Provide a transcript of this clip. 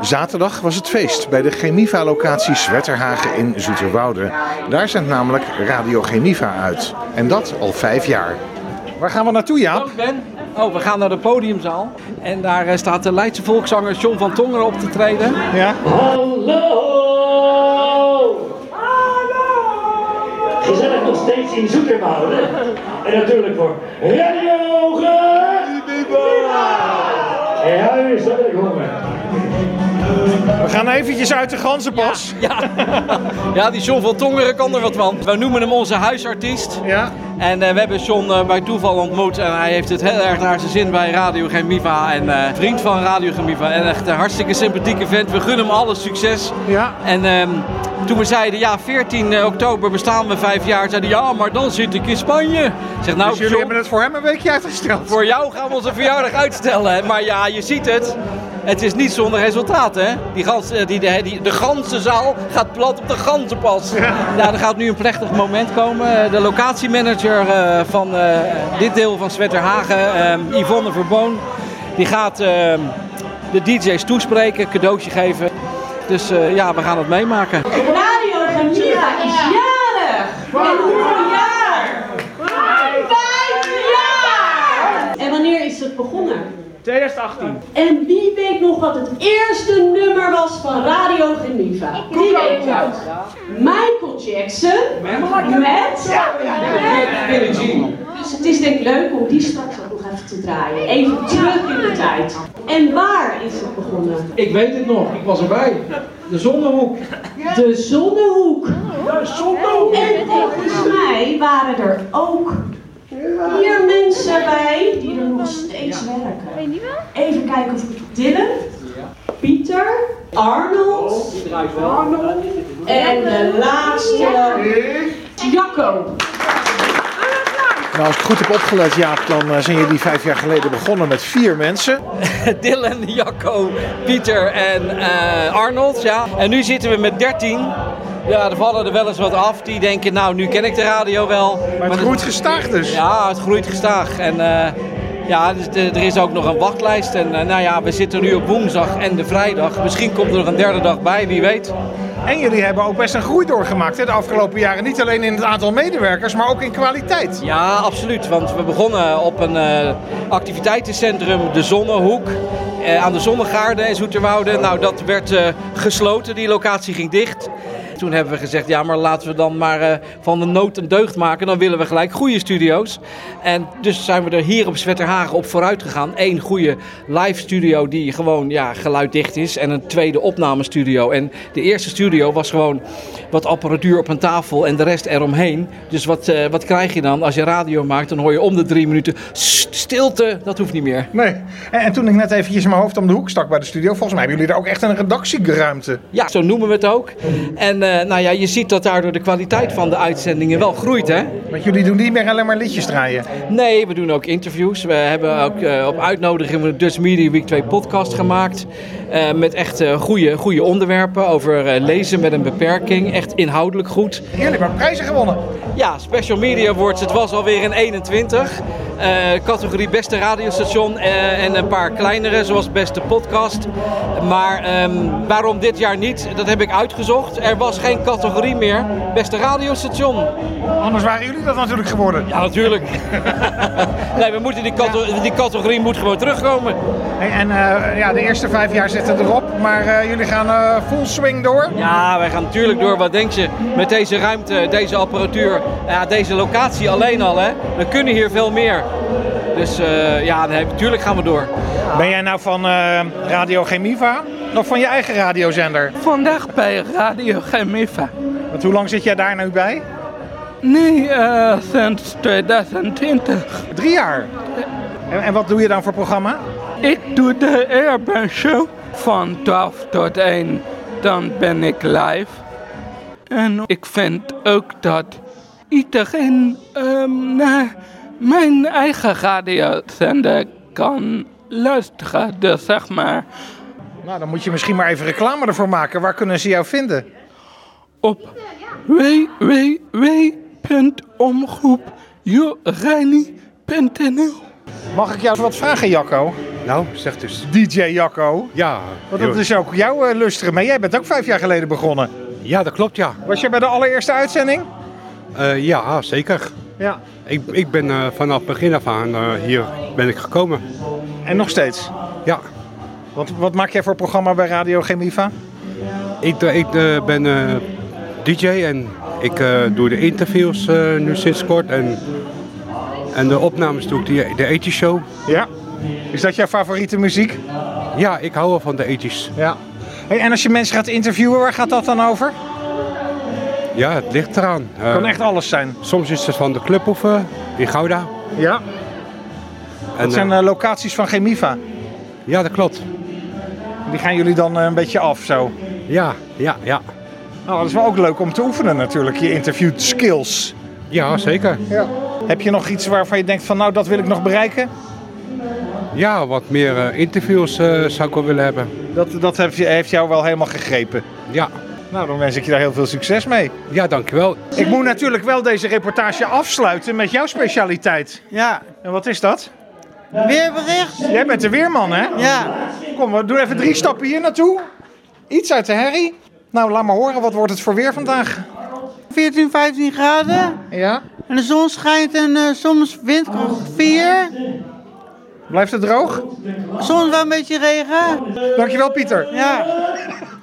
Zaterdag was het feest bij de Chemiva-locatie Zwetterhagen in Zoeterwoude. Daar zendt namelijk Radio Chemiva uit. En dat al vijf jaar. Waar gaan we naartoe, Jaap? Ik ben. Oh, we gaan naar de podiumzaal. En daar eh, staat de Leidse volkszanger John van Tongeren op te treden. Ja. Hallo! Gezellig nog steeds in Zoeterwoude. En natuurlijk voor Radio Ge- Ja, u is dat ik honger. We gaan eventjes uit de ganzenpas. Ja. ja, die John van Tongeren kan er wat van. We noemen hem onze huisartiest. Ja. En eh, we hebben John eh, bij toeval ontmoet en hij heeft het heel erg naar zijn zin bij Radio Gemiva. En eh, vriend van Radio Gemiva. En echt een hartstikke sympathieke vent. We gunnen hem alle succes. Ja. En ehm, toen we zeiden, ja, 14 oktober bestaan we vijf jaar, zeiden ja, maar dan zit ik in Spanje. Ik Zeg nou, Dus jullie John, hebben het voor hem een weekje uitgesteld. Voor jou gaan we onze verjaardag uitstellen. hè. Maar ja, je ziet het. Het is niet zonder resultaat, hè? Die gans, eh, die, de, die, de ganse zaal gaat plat op de ganzenpas. Ja. er gaat nu een plechtig moment komen. Eh, De locatiemanager eh, van eh, dit deel van Zwetterhagen, eh, Yvonne Verboon, die gaat eh, de DJ's toespreken, cadeautje geven. Dus eh, ja, we gaan het meemaken. Radio Gemiva is jarig! En hoeveel jaar? Vijf jaar! En wanneer is het begonnen? 2018. En wie weet nog wat het eerste nummer was van Radio Gemiva? Wie weet dat? Michael Jackson met... met- Dus het is denk ik leuk om die straks ook nog even te draaien. Even terug in de tijd. En waar is het begonnen? Ik weet het nog, ik was erbij. De zonnehoek. De Zonnehoek. De zonnehoek! En volgens mij waren er ook hier mensen bij die er nog steeds werken. Even kijken of ik Dylan, Pieter, Arnold Oh, Die draait wel. en de laatste Jacco. Nou, als ik goed heb opgelet, Jaap, dan eh, zijn jullie vijf jaar geleden begonnen met vier mensen. Dylan, Jacco, Pieter en eh, Arnold. Ja. En nu zitten we met 13. Ja, er vallen er wel eens wat af. Die denken, nou, nu ken ik de radio wel. Maar het dat- groeit gestaag dus. Ja, het groeit gestaag. En eh, ja, dus de- er is ook nog een wachtlijst. En eh, nou ja, we zitten nu op woensdag en de vrijdag. Misschien komt er nog een derde dag bij, wie weet. En jullie hebben ook best een groei doorgemaakt hè, de afgelopen jaren. Niet alleen in het aantal medewerkers, maar ook in kwaliteit. Ja, absoluut. Want we begonnen op een eh, activiteitencentrum De Zonnehoek. eh, aan de Zonnegaarde in Zoeterwoude. Nou, dat werd eh, gesloten. Die locatie ging dicht. Toen hebben we gezegd, ja, maar laten we dan maar eh, van de nood een deugd maken. Dan willen we gelijk goede studio's. En dus zijn we er hier op Zwetterhagen op vooruit gegaan. Eén goede live studio die gewoon ja, geluiddicht is. En een tweede opnamestudio. En de eerste studio was gewoon wat apparatuur op een tafel en de rest eromheen. Dus wat, eh, wat krijg je dan als je radio maakt? Dan hoor je om de drie minuten "Sst, stilte. Dat hoeft niet meer. Nee. En, en toen ik net eventjes mijn hoofd om de hoek stak bij de studio, volgens mij hebben jullie daar ook echt een redactieruimte. Ja, zo noemen we het ook. En eh, nou ja, je ziet dat daardoor de kwaliteit van de uitzendingen wel groeit, hè? Want jullie doen niet meer alleen maar liedjes draaien. Nee, we doen ook interviews. We hebben ook eh, op uitnodiging van de Dutch Media Week 2 podcast gemaakt. Eh, met echt eh goede, goede onderwerpen over eh, lezen met een beperking. Echt inhoudelijk goed. Jullie hebben prijzen gewonnen. Ja, Special Media Awards, het was alweer in 21. Eh, categorie beste radiostation eh, en een paar kleinere, zoals beste podcast. Maar ehm, waarom dit jaar niet, dat heb ik uitgezocht. Er was geen categorie meer beste radiostation. Anders waren jullie dat natuurlijk geworden. Ja, natuurlijk. nee, we moeten die, cate- die categorie moet gewoon terugkomen. Hey, en eh, ja, de eerste vijf jaar zitten erop, maar eh, jullie gaan eh, full swing door. Ja, wij gaan natuurlijk door. Wat denk je? Met deze ruimte, deze apparatuur, ja, deze locatie alleen al, hè? We kunnen hier veel meer. Dus eh, ja, nee, natuurlijk gaan we door. Ben jij nou van eh, Radio Chemiva of van je eigen radiozender? Vandaag bij Radio Gemiva. Want hoe lang zit jij daar nu bij? Nu eh, sinds 2020. Drie jaar. En, en wat doe je dan voor programma? Ik doe de Urban Show van 12 tot 1. Dan ben ik live. En ik vind ook dat iedereen ehm, naar mijn eigen radiozender kan luisteren. Dus zeg maar Nou, dan moet je misschien maar even reclame ervoor maken. Waar kunnen ze jou vinden? op www.omroepjoreini.nl Mag ik jou wat vragen, Jacco? Nou, zeg dus. DJ Jacco. Ja, Want Oh, dat is ook jouw eh, lustre. Maar jij bent ook vijf jaar geleden begonnen. ja dat klopt, ja. Was je bij de allereerste uitzending? Eh, ja, zeker. Ja. Ik, ik ben eh, vanaf begin af aan eh, hier ben ik gekomen. En nog steeds. Ja, Wat, wat maak jij voor programma bij Radio Gemiva? ik, eh, ik eh, ben eh, DJ en ik eh, doe de interviews eh, nu sinds kort. En, en de opnames doe ik, die, de ethisch show. Ja. Is dat jouw favoriete muziek? Ja, ik hou wel van de E ethisch. Ja. Hey, en als je mensen gaat interviewen, waar gaat dat dan over? Ja, het ligt eraan. Eh, Kan echt alles zijn. Soms is het van de club of eh, in Gouda. Ja. En, Dat zijn eh, eh, locaties van Gemiva. ja, dat klopt. Die gaan jullie dan eh, een beetje af zo. Ja, ja, ja. Nou, dat is wel ook leuk om te oefenen natuurlijk, je interviewt skills. Ja, zeker. Heb je nog iets waarvan je denkt van nou, dat wil ik nog bereiken? Ja, wat meer eh, interviews eh, zou ik wel willen hebben. Dat, dat heeft, je- heeft jou wel helemaal gegrepen. Ja, Nou, dan wens ik je daar heel veel succes mee. ja dankjewel. Ik moet natuurlijk wel deze reportage afsluiten met jouw specialiteit. Ja, En wat is dat? weerbericht. Jij bent de weerman, hè? Ja, Kom, we doen even drie stappen hier naartoe. Iets uit de herrie. Nou, laat maar horen, wat wordt het voor weer vandaag? 14, 15 graden. Ja? En de zon schijnt en eh, soms windkracht 4. Blijft het droog? Soms wel een beetje regen. Dankjewel, Pieter. Ja.